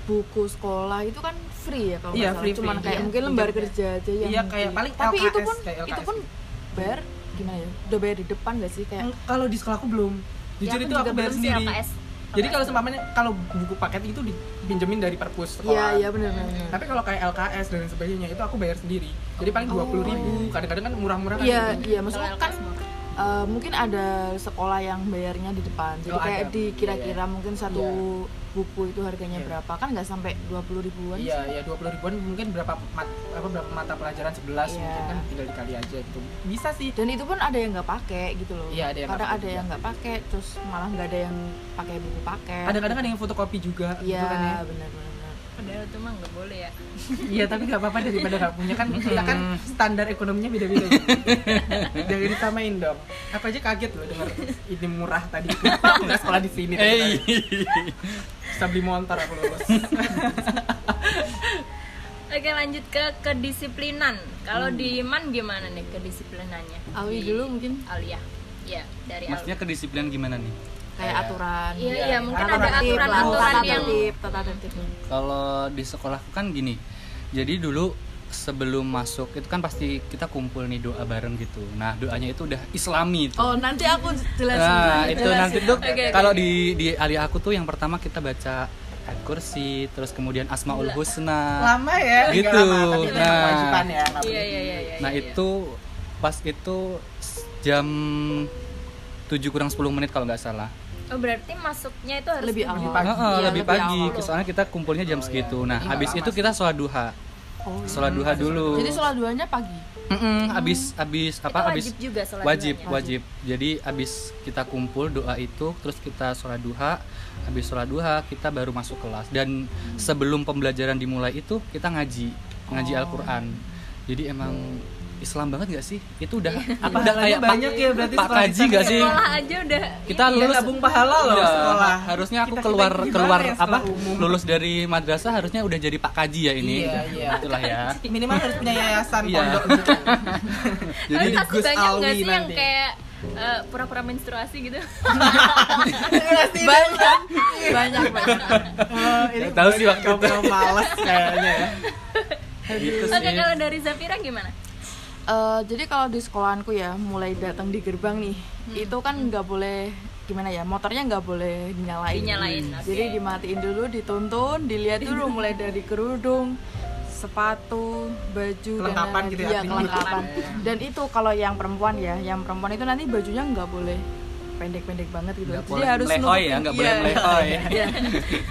Speaker 3: buku sekolah itu kan free ya kalau
Speaker 2: Iya,
Speaker 3: nggak salah.
Speaker 2: free,
Speaker 3: cuman
Speaker 2: free.
Speaker 3: kayak
Speaker 2: Iya.
Speaker 3: mungkin lembar kerja aja yang
Speaker 2: Iya, kayak
Speaker 3: free.
Speaker 2: paling
Speaker 3: tapi itu
Speaker 2: LKS,
Speaker 3: pun
Speaker 2: kayak
Speaker 3: itu
Speaker 2: LKS.
Speaker 3: pun bayar gimana ya udah bayar di depan gak sih kayak
Speaker 2: Eng- Kalau di sekolah aku belum. Jujur
Speaker 1: Ya,
Speaker 2: itu aku
Speaker 1: juga
Speaker 2: bayar
Speaker 1: belum sih
Speaker 2: sendiri.
Speaker 1: LKS.
Speaker 2: Jadi kalau seumpamanya kalau buku paket itu dipinjemin dari perpus sekolah. Hmm,
Speaker 3: iya iya benar benar
Speaker 2: Tapi kalau kayak LKS dan sebagainya itu aku bayar sendiri. Jadi paling dua puluh ribu. Kadang-kadang kan murah-murah. kan.
Speaker 3: iya iya maksudnya
Speaker 1: Kalau
Speaker 3: kan
Speaker 1: LKS mah.
Speaker 3: eh, mungkin ada sekolah yang bayarnya di depan jadi
Speaker 2: Oh, ada.
Speaker 3: kayak dikira-kira mungkin satu
Speaker 2: Iya.
Speaker 3: buku itu harganya
Speaker 2: Iya.
Speaker 3: berapa kan nggak sampai 20 ribuan
Speaker 2: Iya, iya 20 ribuan mungkin berapa mat, apa berapa mata pelajaran 11
Speaker 3: Iya.
Speaker 2: mungkin kan tinggal dikali aja gitu. Bisa sih.
Speaker 3: dan itu pun ada yang nggak pakai gitu loh
Speaker 2: Iya, ada yang nggak
Speaker 3: kadang
Speaker 2: pakai
Speaker 3: ada
Speaker 2: juga.
Speaker 3: yang nggak pakai terus malah nggak ada yang pakai buku pakai
Speaker 2: Kadang-kadang ada yang fotokopi juga
Speaker 3: iya
Speaker 2: gitu kan ya.
Speaker 3: benar benar
Speaker 1: Padahal itu mah nggak boleh ya.
Speaker 2: Iya, tapi nggak apa-apa daripada nggak punya kan kita kan
Speaker 4: Hmm.
Speaker 2: standar ekonominya beda-beda. Bu. Jangan disamain dong. Apa aja kaget loh dengar ini murah tadi. Kenapa aku nggak sekolah di sini? tadi?
Speaker 4: Eh,
Speaker 2: Bisa beli motor aku lulus.
Speaker 1: Oke lanjut ke kedisiplinan. Kalau di Man gimana nih kedisiplinannya?
Speaker 3: Alwi
Speaker 1: Di-
Speaker 3: Hmm. dulu mungkin
Speaker 1: Alia. Iya, dari
Speaker 4: maksudnya kan
Speaker 1: Alwi.
Speaker 4: kedisiplinan gimana nih?
Speaker 3: kayak aturan
Speaker 1: Iya,
Speaker 2: Iya,
Speaker 1: iya, mungkin
Speaker 3: Tata
Speaker 1: ada
Speaker 3: tertib lah,
Speaker 1: aturan-aturan
Speaker 3: tata
Speaker 1: yang
Speaker 3: tertib tata tertib
Speaker 4: Kalau di sekolahku kan gini. Jadi dulu sebelum masuk itu kan pasti kita kumpul nih doa bareng gitu. Nah, doanya itu udah Islami tuh.
Speaker 3: oh nanti aku jelasin
Speaker 4: Nah, itu
Speaker 3: Jelasin.
Speaker 4: nanti tuh
Speaker 1: Oke, oke,
Speaker 4: kalau
Speaker 1: oke.
Speaker 4: di di alia aku tuh yang pertama kita baca Al-Kursi, terus kemudian Asmaul Husna.
Speaker 2: lama ya. nggak
Speaker 4: Gitu.
Speaker 2: Lama, tapi memang
Speaker 4: Nah.
Speaker 2: kewajiban ya.
Speaker 1: Iya,
Speaker 2: nggak boleh
Speaker 1: iya,
Speaker 2: di-
Speaker 1: iya, iya.
Speaker 4: Nah,
Speaker 1: iya.
Speaker 4: itu pas itu jam 7 kurang 10 menit kalau nggak salah.
Speaker 1: Oh, berarti masuknya itu harus
Speaker 3: Lebih
Speaker 1: di-
Speaker 3: awal.
Speaker 2: pagi.
Speaker 4: Heeh,
Speaker 3: Iya,
Speaker 4: lebih
Speaker 3: lebih
Speaker 4: pagi,
Speaker 3: awal.
Speaker 4: soalnya kita kumpulnya jam
Speaker 2: Oh, iya.
Speaker 4: segitu. Nah,
Speaker 2: Jadi nggak
Speaker 4: habis
Speaker 2: lama
Speaker 4: itu
Speaker 2: sih.
Speaker 4: kita sholat duha.
Speaker 3: Oh, iya.
Speaker 4: sholat duha dulu
Speaker 3: Jadi sholat duhanya pagi.
Speaker 4: Mm-mm, abis abis
Speaker 1: itu
Speaker 4: apa abis
Speaker 1: wajib juga sholat ya?
Speaker 4: wajib
Speaker 1: duhanya.
Speaker 4: wajib jadi abis kita kumpul doa itu terus kita sholat duha abis sholat duha kita baru masuk kelas dan
Speaker 1: Hmm.
Speaker 4: sebelum pembelajaran dimulai itu kita ngaji ngaji
Speaker 1: Oh.
Speaker 4: Al-Quran jadi emang Islam banget gak sih itu udah
Speaker 2: Apa
Speaker 4: udah
Speaker 2: halanya banyak
Speaker 4: Pak-
Speaker 2: ya berarti
Speaker 4: Pak
Speaker 2: setelah
Speaker 4: Kaji
Speaker 2: kita
Speaker 4: gak sih
Speaker 1: Iya. sekolah aja udah
Speaker 4: kita
Speaker 2: Kita
Speaker 4: lulus
Speaker 2: nabung pahala loh
Speaker 4: Iya,
Speaker 2: sekolah.
Speaker 4: harusnya aku
Speaker 2: Kita- kita
Speaker 4: keluar
Speaker 2: gimana
Speaker 4: keluar
Speaker 2: ya sekolah
Speaker 4: apa
Speaker 2: umum?
Speaker 4: lulus dari madrasah harusnya udah jadi Pak Kaji ya ini
Speaker 2: Iya, iya.
Speaker 4: itulah ya
Speaker 2: Minimal harus punya yayasan
Speaker 4: Iya.
Speaker 2: pondok gitu.
Speaker 1: jadi
Speaker 4: jadi
Speaker 1: pasti
Speaker 2: Gus
Speaker 1: banyak nggak
Speaker 2: Alwi
Speaker 1: sih yang
Speaker 2: nanti.
Speaker 1: kayak eh, pura-pura menstruasi gitu
Speaker 2: Pasti
Speaker 3: Banyak, banyak, banyak.
Speaker 2: Eh, ini
Speaker 4: Nggak tahu sih waktu itu.
Speaker 2: kamu males kayaknya ya.
Speaker 4: gitu
Speaker 1: oke
Speaker 4: sih
Speaker 1: kalau dari Zafira gimana
Speaker 3: Eh, jadi kalau di sekolahanku ya mulai datang di gerbang nih,
Speaker 1: Hmm.
Speaker 3: itu kan nggak boleh gimana ya motornya nggak boleh dinyalain.
Speaker 1: dinyalain oke.
Speaker 3: Jadi dimatiin dulu, dituntun, dilihat dulu mulai dari kerudung, sepatu, baju, dan
Speaker 2: Kelengkapan
Speaker 3: lain-lain.
Speaker 2: gitu ya,
Speaker 3: Iya,
Speaker 2: atribut.
Speaker 3: kelengkapan. Dan itu kalau yang perempuan ya, yang perempuan itu nanti bajunya nggak boleh pendek-pendek banget gitu.
Speaker 4: nggak
Speaker 3: Jadi
Speaker 4: boleh
Speaker 3: harus
Speaker 4: melehoi
Speaker 3: nutupin-
Speaker 4: ya nggak boleh
Speaker 3: iya.
Speaker 4: melehoi
Speaker 3: Iya.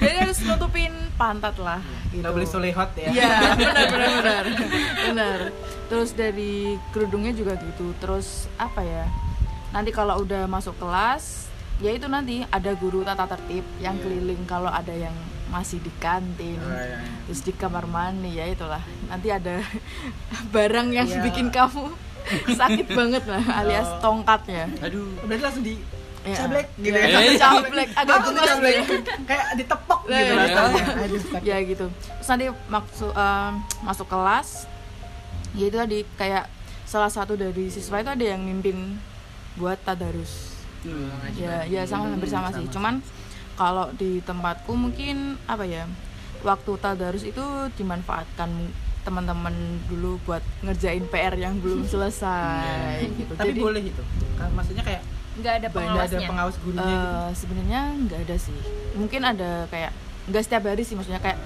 Speaker 3: Jadi harus nutupin pantat lah. Gitu.
Speaker 2: Nggak boleh solehot ya.
Speaker 3: Iya, benar benar benar. Benar. Terus dari kerudungnya juga gitu. Terus apa ya? Nanti kalau udah masuk kelas, ya itu nanti ada guru tata tertib yang
Speaker 2: Iya.
Speaker 3: keliling kalau ada yang masih di kantin.
Speaker 2: Oh, iya, iya.
Speaker 3: Terus di kamar mandi ya itulah. Nanti ada barang yang
Speaker 2: Iya.
Speaker 3: bikin kamu sakit banget lah alias tongkatnya.
Speaker 4: aduh
Speaker 2: Berarti langsung di
Speaker 3: Iya.
Speaker 2: cablek gitu
Speaker 3: Iya,
Speaker 2: ya.
Speaker 4: iya,
Speaker 3: cablek. Agak
Speaker 2: Langsung
Speaker 3: gemes. ya.
Speaker 2: dicablek. Kayak ditepok
Speaker 3: Iya,
Speaker 2: gitu
Speaker 3: iya.
Speaker 2: rasanya. Aduh, sakit.
Speaker 3: ya gitu terus nanti maksud masuk kelas ya itu tadi kayak salah satu dari siswa itu ada yang mimpin buat tadarus ya ya sama hampir sama sih cuman kalau di tempatku mungkin apa ya waktu tadarus itu dimanfaatkan teman-teman dulu buat ngerjain PR yang belum selesai gitu
Speaker 2: Tapi
Speaker 3: Jadi,
Speaker 2: boleh gitu. Kan Maksudnya kayak
Speaker 1: nggak ada
Speaker 2: nggak ada
Speaker 1: pengawasnya
Speaker 2: pengawas gurunya gitu.
Speaker 3: Eh, sebenarnya nggak ada sih mungkin ada kayak nggak setiap hari sih maksudnya kayak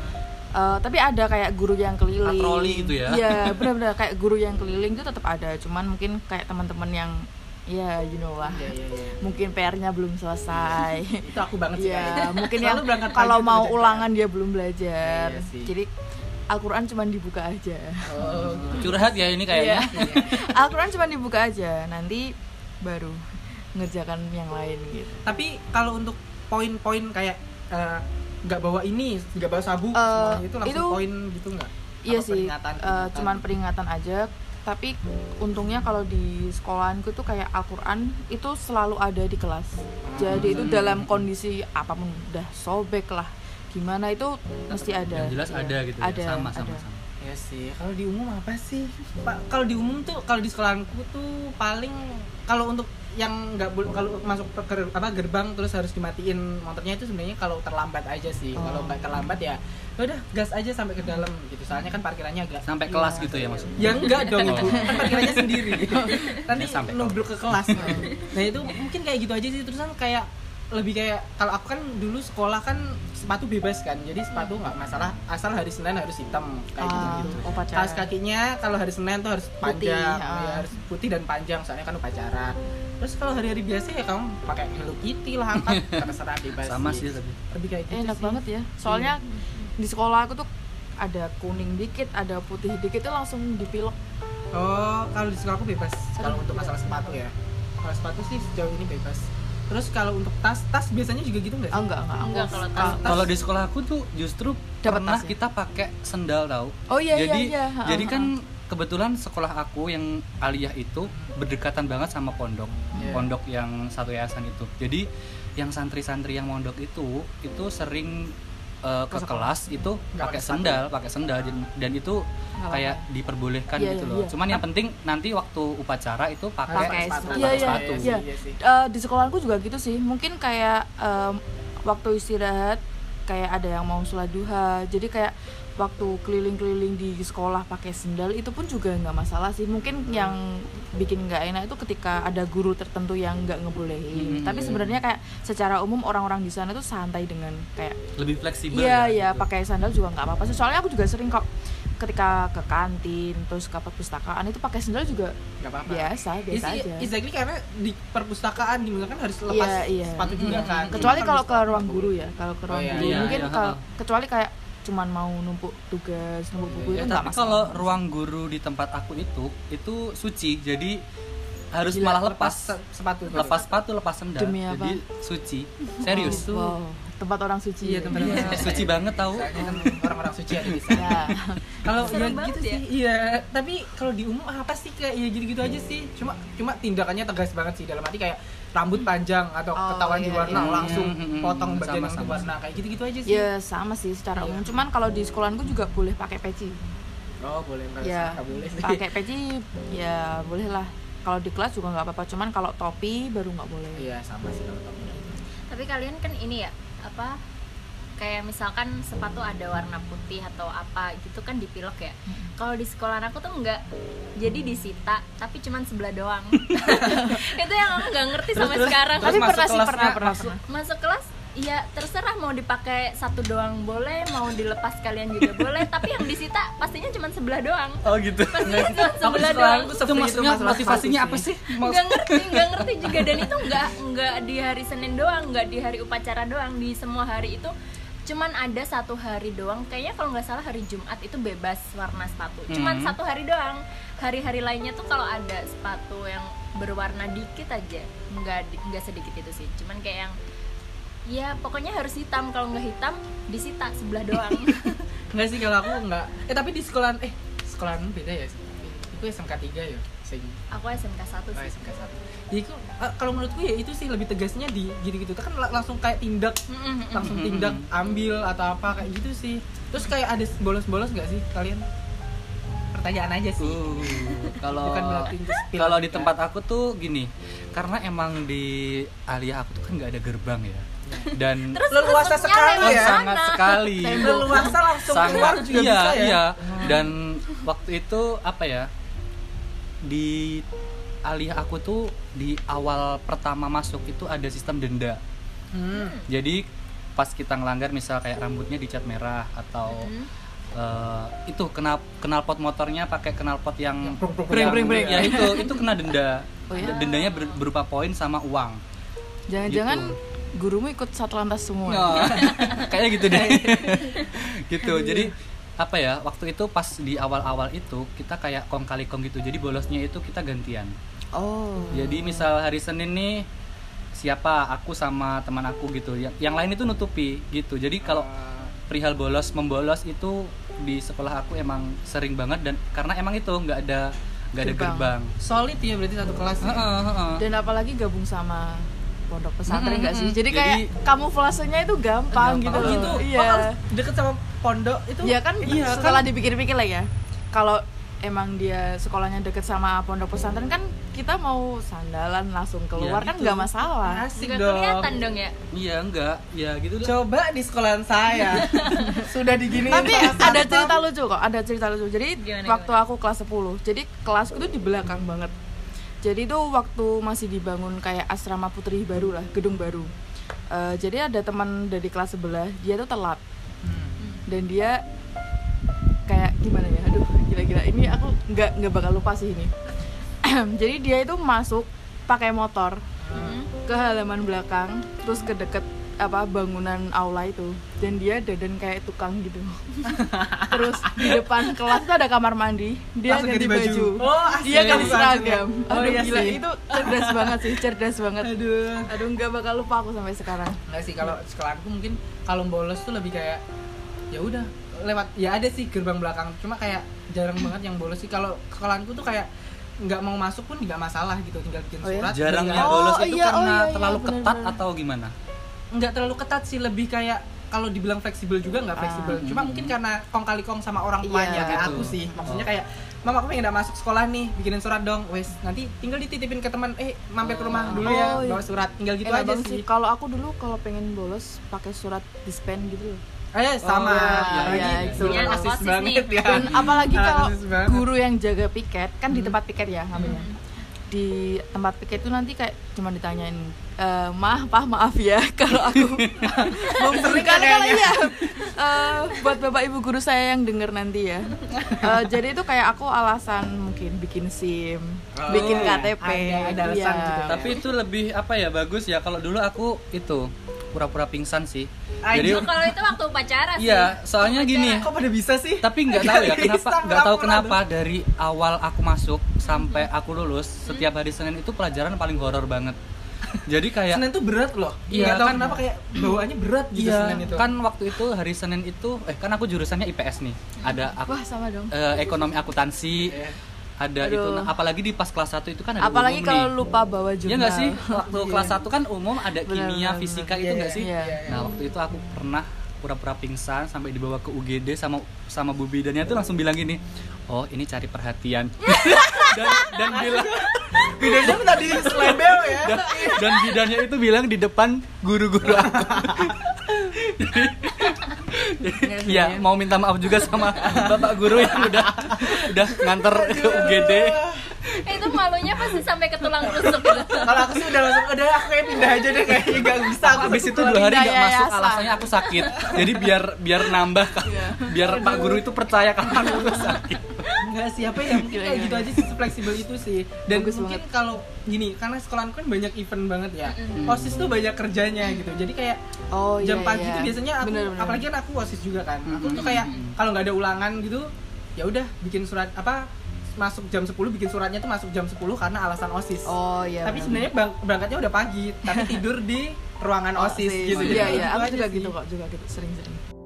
Speaker 3: eh, tapi ada kayak guru yang keliling
Speaker 4: Patroli gitu ya?
Speaker 3: iya benar-benar kayak guru yang keliling itu tetap ada cuman mungkin kayak teman-teman yang ya you know lah
Speaker 2: Iya, iya, iya.
Speaker 3: mungkin PR-nya belum selesai
Speaker 2: Itu aku banget sih.
Speaker 3: Iya, mungkin
Speaker 2: Selalu
Speaker 3: yang
Speaker 2: berangkat pagi
Speaker 3: kalau
Speaker 2: tuh
Speaker 3: mau
Speaker 2: kerja.
Speaker 3: ulangan dia belum belajar
Speaker 2: Iya sih.
Speaker 3: jadi Al-Quran cuma dibuka aja
Speaker 2: Oh, gitu.
Speaker 4: curhat ya
Speaker 3: Iya.
Speaker 4: ini kayaknya
Speaker 3: Al-Quran cuma dibuka aja nanti baru ngerjakan yang lain gitu
Speaker 2: tapi kalau untuk poin-poin kayak eh, nggak bawa ini nggak bawa sabu
Speaker 3: Eh,
Speaker 2: semuanya itu langsung
Speaker 3: itu-
Speaker 2: poin gitu nggak
Speaker 3: Iya
Speaker 2: Apa
Speaker 3: sih,
Speaker 2: peringatan,
Speaker 3: eh,
Speaker 2: peringatan?
Speaker 3: cuman peringatan aja. Tapi untungnya kalau di sekolahanku tuh kayak Al-Quran itu selalu ada di kelas. Jadi itu dalam kondisi apapun udah sobek lah, gimana itu mesti ada.
Speaker 4: yang jelas
Speaker 3: Iya,
Speaker 4: ada gitu
Speaker 3: Ada,
Speaker 4: ya sama sama
Speaker 3: ada.
Speaker 4: sama
Speaker 2: Iya sih kalau di umum apa sih pak kalau di umum tuh kalau di sekolahanku tuh paling kalau untuk yang nggak boleh kalau masuk ke ger- apa gerbang terus harus dimatiin motornya itu sebenarnya kalau terlambat aja sih kalau nggak terlambat ya ya udah gas aja sampai ke dalam gitu soalnya kan parkirannya agak
Speaker 4: sampai kelas gitu ya maksudnya
Speaker 2: Ya enggak dong,
Speaker 4: Oh.
Speaker 2: Ibu. Kan parkirannya sendiri. Nanti
Speaker 4: Ya, sampai
Speaker 2: nubruk ke kelas. Nah, itu mungkin kayak gitu aja sih. Terus kan kayak lebih kayak kalau aku kan dulu sekolah kan sepatu bebas kan. Jadi sepatu nggak masalah asal hari Senin harus hitam kayak
Speaker 3: Ah,
Speaker 2: gitu.
Speaker 3: oh, pacaran.
Speaker 2: Kaos kakinya kalau hari Senin tuh harus
Speaker 3: Putih,
Speaker 2: panjang,
Speaker 3: ah.
Speaker 2: ya, harus putih dan panjang soalnya kan upacara. Terus kalau hari-hari biasa ya kamu pakai Hello Kitty lah, angkat terserah bebas.
Speaker 4: sama sih tapi
Speaker 2: Lebih kayak gitu.
Speaker 3: Eh, enak
Speaker 2: sih.
Speaker 3: banget ya. Soalnya di sekolah aku tuh ada kuning dikit, ada putih dikit itu langsung dipilok.
Speaker 2: Oh, kalau di sekolah aku bebas. Kalau untuk masalah sepatu ya. Kalau sepatu sih sejauh ini bebas. Terus kalau untuk tas, tas biasanya juga gitu nggak
Speaker 3: Ah,
Speaker 2: sih?
Speaker 3: enggak, enggak.
Speaker 1: Enggak,
Speaker 3: aku-
Speaker 1: kalau
Speaker 2: tas-
Speaker 4: kalau di sekolah aku tuh justru
Speaker 3: Dapat
Speaker 4: pernah
Speaker 3: tasnya.
Speaker 4: kita pakai sendal tau
Speaker 3: Oh iya
Speaker 4: jadi
Speaker 3: iya iya.
Speaker 4: jadi
Speaker 3: Ah,
Speaker 4: kan kebetulan sekolah aku yang aliyah itu berdekatan banget sama pondok
Speaker 2: Iya.
Speaker 4: pondok yang satu yayasan itu jadi yang santri-santri yang mondok itu itu sering eh, ke kelas itu
Speaker 2: Nggak pakai
Speaker 4: pakai
Speaker 2: sepatu.
Speaker 4: sendal pakai sendal dan- dan itu
Speaker 3: Nggak
Speaker 4: kayak diperbolehkan
Speaker 3: Iya,
Speaker 4: gitu
Speaker 3: iya,
Speaker 4: loh
Speaker 3: iya.
Speaker 4: cuman yang penting nanti waktu upacara itu
Speaker 3: Pakai
Speaker 4: pakai
Speaker 3: sepatu.
Speaker 2: Iya,
Speaker 4: pakai
Speaker 2: iya,
Speaker 4: sepatu
Speaker 2: iya, iya sih.
Speaker 3: Eh, di sekolahku juga gitu sih mungkin kayak em, waktu istirahat kayak ada yang mau sholat duha jadi kayak waktu keliling-keliling di sekolah pakai sendal itu pun juga nggak masalah sih mungkin yang bikin nggak enak itu ketika ada guru tertentu yang nggak ngebolehin
Speaker 4: Hmm.
Speaker 3: tapi sebenarnya kayak secara umum orang-orang di sana tuh santai dengan kayak
Speaker 4: lebih fleksibel
Speaker 3: Iya iya
Speaker 4: gitu.
Speaker 3: pakai sandal juga nggak apa-apa sih. Soalnya aku juga sering kok ketika ke kantin terus ke perpustakaan itu pakai sandal juga
Speaker 2: Nggak apa-apa.
Speaker 3: biasa
Speaker 2: Iya
Speaker 3: biasa
Speaker 2: sih,
Speaker 3: aja. Iya,
Speaker 2: exactly karena di perpustakaan di mana kan harus lepas sepatu juga
Speaker 3: Mm-mm.
Speaker 2: kan.
Speaker 3: kecuali
Speaker 2: Kan
Speaker 3: kalau ke
Speaker 2: harus
Speaker 3: ruang
Speaker 2: sepatu.
Speaker 3: guru ya kalau ke
Speaker 2: Oh,
Speaker 3: ruang
Speaker 2: iya,
Speaker 3: guru
Speaker 4: iya,
Speaker 3: mungkin
Speaker 4: iya,
Speaker 3: kalau-
Speaker 4: ha.
Speaker 3: kecuali kayak cuman mau numpuk tugas numpuk
Speaker 2: Iya,
Speaker 3: buku itu
Speaker 4: Ya,
Speaker 3: nggak
Speaker 4: tapi
Speaker 3: masalah Oh,
Speaker 4: kalau ruang guru di tempat aku itu itu suci, jadi harus
Speaker 3: Gila,
Speaker 4: malah lepas
Speaker 2: se- sepatu itu.
Speaker 4: lepas sepatu, lepas sendal.
Speaker 3: Demi apa?
Speaker 4: Jadi suci.
Speaker 2: Oh,
Speaker 4: Serius tuh.
Speaker 3: wow tempat orang suci
Speaker 2: Iya, tempat orang
Speaker 4: Iya, suci banget tahu.
Speaker 2: Soalnya kan orang-orang suci ada di sana.
Speaker 3: ya
Speaker 2: Kalau ya
Speaker 1: Serem banget
Speaker 2: gitu
Speaker 1: ya.
Speaker 2: sih. Iya, tapi kalau di umum apa sih kayak ya gitu-gitu aja sih. Cuma cuma tindakannya tegas banget sih dalam arti kayak rambut panjang atau
Speaker 3: Oh,
Speaker 2: ketahuan di
Speaker 3: iya,
Speaker 2: warna
Speaker 4: iya.
Speaker 2: langsung
Speaker 4: Hmm, hmm, hmm.
Speaker 2: potong bagian yang
Speaker 4: Sama-sama.
Speaker 2: berwarna kayak gitu-gitu aja sih.
Speaker 1: Iya.
Speaker 3: ya sama sih secara umum
Speaker 2: Iya.
Speaker 3: cuman kalau di sekolahanku juga boleh pakai peci
Speaker 2: Oh, boleh enggak
Speaker 1: Iya.
Speaker 3: ya
Speaker 2: boleh sih.
Speaker 3: pakai peci ya boleh lah kalau di kelas juga nggak apa-apa cuman kalau topi baru nggak boleh
Speaker 2: Iya, sama sih kalau kamu.
Speaker 1: Tapi kalian kan ini ya apa kayak misalkan sepatu ada warna putih atau apa gitu kan dipilok ya. Kalau di sekolah aku tuh enggak jadi disita tapi cuman sebelah doang. itu yang aku nggak ngerti sampai sekarang.
Speaker 3: Tapi
Speaker 2: masuk
Speaker 3: pernah sih,
Speaker 2: kelasnya,
Speaker 3: pernah, pernah,
Speaker 2: masuk-
Speaker 1: Masuk kelas Iya terserah mau dipakai satu doang boleh, mau dilepas kalian juga boleh, tapi yang disita pastinya cuman sebelah doang.
Speaker 4: Oh gitu.
Speaker 1: Pastinya cuman
Speaker 2: Aku
Speaker 1: sebelah doang.
Speaker 2: sekolahku
Speaker 4: Itu
Speaker 2: seperti itu
Speaker 4: maksudnya
Speaker 2: masalah
Speaker 4: motivasinya
Speaker 2: sepatu
Speaker 4: apa sih?
Speaker 1: nggak ngerti nggak ngerti juga dan itu nggak nggak di hari Senin doang nggak di hari upacara doang di semua hari itu cuman ada satu hari doang kayaknya kalau nggak salah hari Jumat itu bebas warna sepatu cuman
Speaker 4: Hmm.
Speaker 1: satu hari doang hari-hari lainnya tuh kalau ada sepatu yang berwarna dikit aja nggak di- nggak sedikit itu sih cuman kayak yang ya pokoknya harus hitam kalau nggak hitam disita sebelah doang
Speaker 2: Enggak sih kalau aku enggak. Eh, tapi di sekolahan eh sekolahan beda ya. Itu SMK 3 ya. Sing
Speaker 1: aku SMK 1
Speaker 2: Oh,
Speaker 1: sih
Speaker 2: SMK satu. Jadi ku- eh, kalau menurutku ya itu sih lebih tegasnya di gitu-gitu kan la- langsung kayak tindak, langsung tindak ambil atau apa kayak gitu sih. Terus kayak ada bolos-bolos nggak sih kalian? Pertanyaan aja sih.
Speaker 4: Uh, kalau
Speaker 2: Bukan berarti itu spill.
Speaker 4: kalau di tempat aku tuh gini, karena emang di alia aku tuh kan nggak ada gerbang ya, dan oh,
Speaker 1: terus
Speaker 2: Leluasa
Speaker 1: masuknya
Speaker 2: sekali
Speaker 1: lewat
Speaker 2: ya?
Speaker 1: sana.
Speaker 4: sangat sekali.
Speaker 2: Leluasa langsung keluar
Speaker 4: sangat
Speaker 2: juga
Speaker 4: iya
Speaker 2: bisa ya.
Speaker 4: iya dan waktu itu apa ya di alih aku tuh di awal pertama masuk itu ada sistem denda
Speaker 2: Hmm.
Speaker 4: jadi pas kita ngelanggar misal kayak rambutnya dicat merah atau
Speaker 3: Mm-hmm.
Speaker 1: Hmm.
Speaker 4: eh, itu kenal knalpot motornya pakai knalpot
Speaker 2: Yang
Speaker 4: yang
Speaker 2: prung-prung.
Speaker 4: yang-
Speaker 2: Prung-prung,
Speaker 4: ya itu itu kena denda
Speaker 3: Oh ya?
Speaker 4: dendanya ber- berupa poin sama uang
Speaker 3: jangan-jangan
Speaker 4: Gitu.
Speaker 3: gurumu ikut satlantas semua
Speaker 4: Nah, kayaknya gitu deh. gitu. Jadi apa ya? Waktu itu pas di awal-awal itu kita kayak kong kali kong gitu. Jadi bolosnya itu kita gantian.
Speaker 3: oh
Speaker 2: Iya.
Speaker 4: Jadi misal hari Senin nih siapa aku sama teman aku gitu. Yang, yang lain itu nutupi gitu. Jadi kalau perihal bolos membolos itu di sekolah aku emang sering banget dan karena emang itu nggak ada nggak ada
Speaker 3: Gerbang.
Speaker 4: gerbang.
Speaker 2: solid ya berarti satu kelas. ya?
Speaker 4: Heeh, heeh.
Speaker 3: dan apalagi gabung sama pondok pesantren
Speaker 2: Mm-hmm.
Speaker 4: Mm-mm,
Speaker 3: nggak sih
Speaker 4: mm.
Speaker 3: jadi, kayak
Speaker 4: Jadi-
Speaker 3: kamuflasenya itu gampang,
Speaker 2: Oh,
Speaker 3: gitu loh
Speaker 2: gitu.
Speaker 3: iya
Speaker 2: Oh, harus deket sama pondok itu.
Speaker 3: Iya kan
Speaker 2: Iya kan?
Speaker 3: setelah dipikir-pikir lah ya. Kalau emang dia sekolahnya deket sama pondok pesantren kan kita mau sandalan langsung keluar
Speaker 4: Ya,
Speaker 3: kan
Speaker 2: gitu.
Speaker 3: nggak masalah.
Speaker 2: Asik
Speaker 1: nggak
Speaker 2: dong.
Speaker 1: kelihatan dong ya
Speaker 4: Iya, enggak. Ya gitu lah.
Speaker 2: Coba di sekolahan saya sudah diginiin
Speaker 3: Tapi
Speaker 2: Iya, sama
Speaker 3: ada
Speaker 2: satpam.
Speaker 3: cerita lucu kok, ada cerita lucu. Jadi
Speaker 1: Gimana,
Speaker 3: waktu
Speaker 1: gimana?
Speaker 3: aku kelas 10. Jadi kelasku tuh di belakang banget. Jadi itu waktu masih dibangun kayak asrama putri baru lah, gedung baru. Eh, jadi ada teman dari kelas sebelah, dia tuh telat.
Speaker 2: Hmm.
Speaker 3: dan dia kayak gimana ya aduh gila-gila ini aku nggak nggak bakal lupa sih ini jadi dia itu masuk pakai motor
Speaker 1: Hmm.
Speaker 3: ke halaman belakang terus ke deket apa bangunan aula itu dan dia dadan kayak tukang gitu terus di depan kelas itu ada kamar mandi dia
Speaker 2: Langsung ganti
Speaker 3: ganti baju,
Speaker 2: baju. Oh, asik.
Speaker 3: dia ganti
Speaker 2: Langsung.
Speaker 3: seragam
Speaker 2: Oh,
Speaker 3: aduh
Speaker 2: iya
Speaker 3: gila
Speaker 2: sih.
Speaker 3: itu cerdas banget sih cerdas banget
Speaker 2: Aduh.
Speaker 3: aduh nggak bakal lupa aku sampai sekarang
Speaker 2: Enggak sih kalau sekolahanku mungkin kalau bolos tuh lebih kayak ya udah lewat ya ada sih gerbang belakang cuma kayak jarang banget yang bolos sih kalau sekolahanku tuh kayak nggak mau masuk pun nggak masalah gitu tinggal bikin
Speaker 3: Oh ya?
Speaker 2: surat
Speaker 4: Jarangnya
Speaker 2: tinggal-
Speaker 3: Oh,
Speaker 4: bolos itu
Speaker 3: iya, oh
Speaker 4: karena
Speaker 3: iya, iya,
Speaker 4: terlalu ketat
Speaker 3: benar-benar.
Speaker 4: atau gimana?
Speaker 2: nggak terlalu ketat sih lebih kayak kalau dibilang fleksibel juga nggak fleksibel
Speaker 3: Ah.
Speaker 2: cuma mungkin karena kong kali kong sama orang
Speaker 3: Iya, Oh.
Speaker 2: tuanya kayak
Speaker 4: gitu.
Speaker 2: aku sih maksudnya kayak mama aku pengen nggak masuk sekolah nih bikinin surat dong wes nanti tinggal dititipin ke teman eh mampir ke rumah dulu ya
Speaker 3: Oh, iya.
Speaker 2: bawa surat tinggal gitu
Speaker 3: Enak
Speaker 2: aja
Speaker 3: banget
Speaker 2: sih
Speaker 3: kalau aku dulu kalau pengen bolos pakai surat dispen gitu loh
Speaker 2: eh sama
Speaker 3: iya,
Speaker 2: apalagi
Speaker 3: iya, itu.
Speaker 2: dulu kan
Speaker 3: Anak
Speaker 2: osis
Speaker 1: osis nih.
Speaker 2: banget ya
Speaker 3: dan apalagi
Speaker 2: Ah,
Speaker 3: kalau
Speaker 2: persis banget. Hmm.
Speaker 3: guru yang jaga piket kan di tempat piket ya namanya di tempat piket itu nanti kayak cuma ditanyain eh mah pah maaf ya kalau aku
Speaker 2: kan
Speaker 3: memberikan kalau iya Eh, buat bapak ibu guru saya yang denger nanti ya Eh, jadi itu kayak aku alasan mungkin bikin sim
Speaker 2: Oh,
Speaker 3: bikin
Speaker 2: iya.
Speaker 3: KTP
Speaker 2: Ada- ada alasan
Speaker 3: Iya.
Speaker 2: gitu ya.
Speaker 4: Tapi itu lebih apa ya bagus ya kalau dulu aku itu pura-pura pingsan sih. Jadi
Speaker 1: Oh, kalau itu waktu upacara sih.
Speaker 4: iya, soalnya gini.
Speaker 2: Kok pada bisa sih?
Speaker 4: Tapi nggak tahu ya
Speaker 2: Bisa,
Speaker 4: kenapa nggak tahu
Speaker 2: kenapa
Speaker 4: kenapa dari awal aku masuk sampai aku lulus setiap hari Senin itu pelajaran paling horor banget. Jadi kayak
Speaker 2: Senin tuh berat loh. ya.
Speaker 4: Iya,
Speaker 2: Iya, tahu
Speaker 4: kan.
Speaker 2: kenapa kayak bawaannya berat gitu
Speaker 4: Iya,
Speaker 2: Senin itu.
Speaker 4: kan waktu itu hari Senin itu eh kan aku jurusannya IPS nih. Ada aku
Speaker 3: Wah sama dong.
Speaker 4: eh, ekonomi akuntansi.
Speaker 2: Iya.
Speaker 4: Ada
Speaker 3: Aduh.
Speaker 4: itu nah, apalagi di pas kelas 1 itu kan ada
Speaker 3: Apalagi
Speaker 4: umum
Speaker 3: kalau
Speaker 4: nih.
Speaker 3: lupa bawa
Speaker 4: Iya
Speaker 3: jurnal.
Speaker 4: nggak sih? Waktu kelas 1 kan umum ada
Speaker 3: Benar,
Speaker 4: kimia,
Speaker 3: benar,
Speaker 2: Iya,
Speaker 4: fisika itu
Speaker 2: iya,
Speaker 4: nggak sih?
Speaker 2: iya,
Speaker 3: Iya.
Speaker 2: iya.
Speaker 4: Nah, waktu itu aku pernah pura-pura pingsan sampai dibawa ke UGD sama sama Bu Bidannya tuh langsung bilang gini, "Oh, ini cari perhatian."
Speaker 3: Iya.
Speaker 4: dan dan bilang
Speaker 2: Bedanya tuh tadi selebel ya.
Speaker 4: dan, dan bidannya itu bilang di depan guru-guru aku. Jadi- jadi, ya mau minta maaf juga sama bapak guru yang udah udah nganter ke UGD.
Speaker 1: Itu malunya pasti sampai ke tulang rusuk gitu.
Speaker 2: Kalau aku sih udah langsung udah aku kayak pindah aja deh kayaknya nggak bisa aku
Speaker 4: Abis itu dua hari
Speaker 3: Pindah
Speaker 4: nggak masuk
Speaker 3: yayasan.
Speaker 4: alasannya aku sakit. Jadi biar biar nambah kan. biar pak guru itu percaya kalau aku tuh sakit.
Speaker 2: Enggak siapa ya mungkin
Speaker 3: Gila,
Speaker 2: kayak
Speaker 3: gila,
Speaker 2: gitu
Speaker 3: gila.
Speaker 2: aja sih fleksibel itu sih. Dan
Speaker 3: Bagus
Speaker 2: mungkin
Speaker 3: banget.
Speaker 2: kalau gini karena sekolahan kan banyak event banget ya. OSIS tuh banyak kerjanya gitu. Jadi kayak
Speaker 3: Oh iya.
Speaker 2: jam pagi
Speaker 3: iya.
Speaker 2: tuh biasanya aku
Speaker 3: Bener, bener.
Speaker 2: apalagi kan aku OSIS juga kan. Aku tuh
Speaker 4: Mm-mm.
Speaker 2: kayak kalau nggak ada ulangan gitu ya udah bikin surat apa masuk jam 10 bikin suratnya tuh masuk jam 10 karena alasan OSIS.
Speaker 3: Oh iya.
Speaker 2: tapi sebenarnya
Speaker 3: bener.
Speaker 2: bang- berangkatnya udah pagi tapi tidur di ruangan
Speaker 3: Oh,
Speaker 2: osis
Speaker 3: sih.
Speaker 2: gitu
Speaker 3: Iya iya.
Speaker 2: Itu
Speaker 3: Aku
Speaker 2: aja
Speaker 3: juga
Speaker 2: sih.
Speaker 3: gitu kok. Juga gitu. Sering-sering.